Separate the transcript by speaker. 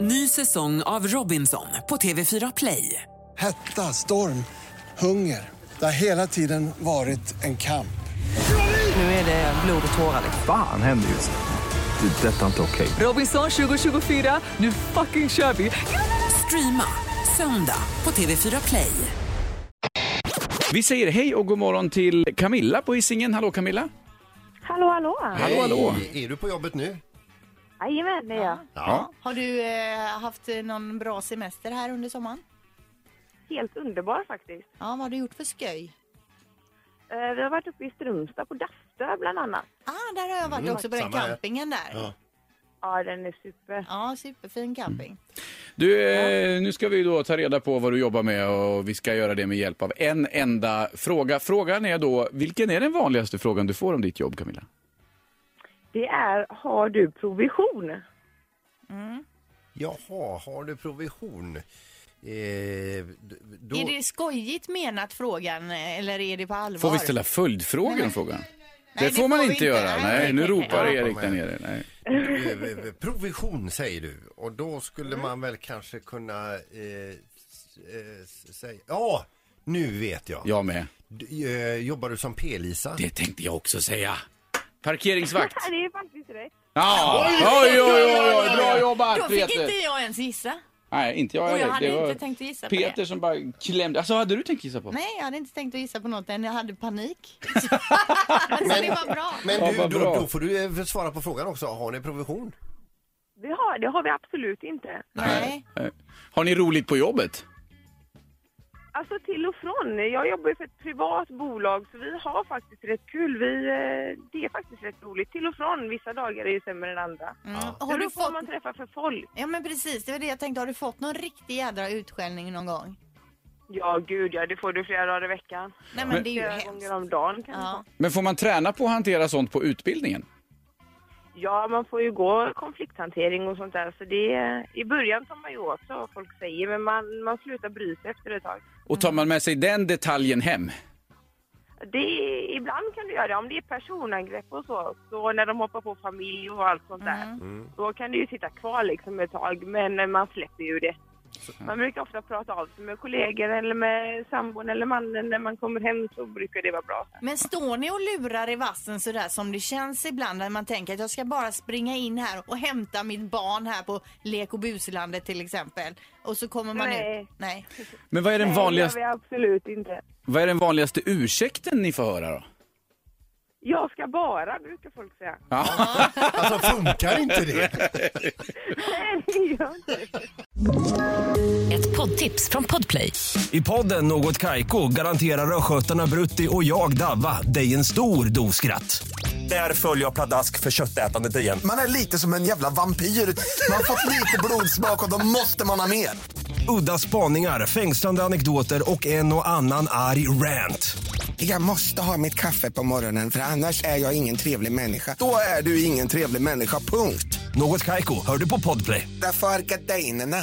Speaker 1: Ny säsong av Robinson på TV4 Play.
Speaker 2: Hetta, storm, hunger. Det har hela tiden varit en kamp.
Speaker 1: Nu är det blod och tårar. liksom.
Speaker 3: Fan händer just nu. Det. är Detta är inte okej.
Speaker 1: Robinson 2024, nu fucking kör vi! Streama söndag på TV4 Play.
Speaker 4: Vi säger hej och god morgon till Camilla på Hisingen. Hallå Camilla!
Speaker 5: Hallå, hallå!
Speaker 4: Hallå, hallå!
Speaker 6: Är du på jobbet nu?
Speaker 5: Jajamän, det är jag.
Speaker 7: Har du eh, haft någon bra semester här under sommaren?
Speaker 5: Helt underbar faktiskt.
Speaker 7: Ja, vad har du gjort för sköj?
Speaker 5: Eh, Vi har varit uppe i Strömstad på Daftö bland annat.
Speaker 7: Ah, där har jag varit också på den
Speaker 6: Mm. samma här.
Speaker 7: campingen där. Ja,
Speaker 5: Ja, den är super.
Speaker 6: Mm.
Speaker 7: superfin camping.
Speaker 4: Du, eh, nu ska vi då ta reda på vad du jobbar med och vi ska göra det med hjälp av en enda fråga. Frågan är då, vilken är den vanligaste frågan du får om ditt jobb Camilla?
Speaker 5: Det är Har du provision?
Speaker 6: Jaha, har du provision? Eh, d- då,
Speaker 7: Är det skojigt menat frågan eh, eller är det på allvar?
Speaker 4: Får vi ställa följdfrågor om frågan? Det,
Speaker 7: det
Speaker 4: får man
Speaker 7: får vi
Speaker 4: inte
Speaker 7: inte.
Speaker 4: göra.
Speaker 7: Nej,
Speaker 4: Nej,
Speaker 7: nej,
Speaker 4: nu
Speaker 7: nej.
Speaker 4: ropar
Speaker 7: Ja,
Speaker 4: Erik
Speaker 6: kom
Speaker 4: där
Speaker 6: igen.
Speaker 4: nere. Nej.
Speaker 6: eh, provision säger du och då skulle
Speaker 5: Mm.
Speaker 6: man väl kanske kunna eh, s- eh, s- säga... Ja, nu vet jag.
Speaker 4: Jag med.
Speaker 6: D- eh, jobbar du som P-Lisa?
Speaker 4: Det tänkte jag också säga. Parkeringsvakt.
Speaker 5: Ja, det är faktiskt rätt.
Speaker 4: Ja! Oj, oj, oj, oj, bra
Speaker 7: Då
Speaker 4: jobbat
Speaker 7: fick
Speaker 4: Peter!
Speaker 7: inte jag ens gissa.
Speaker 4: Nej, inte jag
Speaker 7: Och jag
Speaker 4: heller.
Speaker 7: hade
Speaker 4: Det var
Speaker 7: inte tänkt att gissa på
Speaker 4: Peter
Speaker 7: det.
Speaker 4: som bara klämde. Alltså, hade du tänkt gissa på?
Speaker 7: Nej, jag hade inte tänkt att gissa på något än. Jag hade panik. Så det var bra.
Speaker 6: Men
Speaker 4: Ja,
Speaker 6: du,
Speaker 4: vad bra.
Speaker 6: då, då får du eh, svara på frågan också. Har ni provision?
Speaker 5: Det har, det har vi absolut inte.
Speaker 7: Nej.
Speaker 4: Nej. Eh, Har ni roligt på jobbet?
Speaker 5: Alltså till och från. Jag jobbar ju för ett privat bolag så vi har faktiskt rätt kul. Vi, eh, det är faktiskt rätt roligt. Till och från. Vissa dagar är ju sämre än andra.
Speaker 7: Mm.
Speaker 5: Har
Speaker 7: Har
Speaker 5: du
Speaker 7: du
Speaker 5: får
Speaker 7: fått...
Speaker 5: man träffa för folk.
Speaker 7: Ja, men precis. Det var det jag tänkte. Har du fått någon riktig jädra utskällning någon gång?
Speaker 5: Ja, gud ja. Det får du flera dagar i veckan.
Speaker 7: Nej, men,
Speaker 4: Men-
Speaker 7: det är ju
Speaker 5: Flera
Speaker 7: hemskt.
Speaker 5: gånger om dagen kanske.
Speaker 7: Ja.
Speaker 4: Men får man träna på att hantera sånt på utbildningen?
Speaker 5: Ja, man får ju gå konflikthantering och sånt där. Så det, I början tar man ju åt sig vad folk säger, men man, man slutar bry sig efter ett tag.
Speaker 4: Och tar man med sig den detaljen hem?
Speaker 5: Det, ibland kan du göra det. Om det är personangrepp och så, så när de hoppar på familj och allt sånt där, då kan det ju sitta kvar liksom ett tag. Men man släpper ju det. Man brukar ofta prata av sig med kollegor eller med sambon eller mannen. När man kommer hem så brukar det vara bra.
Speaker 7: Men står ni och lurar i vassen sådär som det känns ibland när man tänker att jag ska bara springa in här och hämta mitt barn här på Lek och buslandet till exempel. Och så kommer man
Speaker 5: Nej.
Speaker 7: ut. Nej.
Speaker 4: Men vad är den vanligaste,
Speaker 5: Nej, det gör vi absolut inte.
Speaker 4: vad är den vanligaste ursäkten ni får höra då?
Speaker 5: Jag ska bara, brukar folk säga.
Speaker 6: Alltså funkar inte det?
Speaker 5: Nej, det gör inte det.
Speaker 8: Ett poddtips från Podplay.
Speaker 9: I podden Något Kaiko garanterar östgötarna Brutti och jag, Davva, dig en stor dos skratt. Där följer jag pladask för köttätandet igen.
Speaker 10: Man är lite som en jävla vampyr. Man har fått lite blodsmak och då måste man ha mer.
Speaker 9: Udda spaningar, fängslande anekdoter och en och annan arg rant.
Speaker 10: Jag måste ha mitt kaffe på morgonen för annars är jag ingen trevlig människa. Då är du ingen trevlig människa, punkt.
Speaker 9: Något Kaiko, hör du på Podplay.
Speaker 10: Därför arkadeinerna.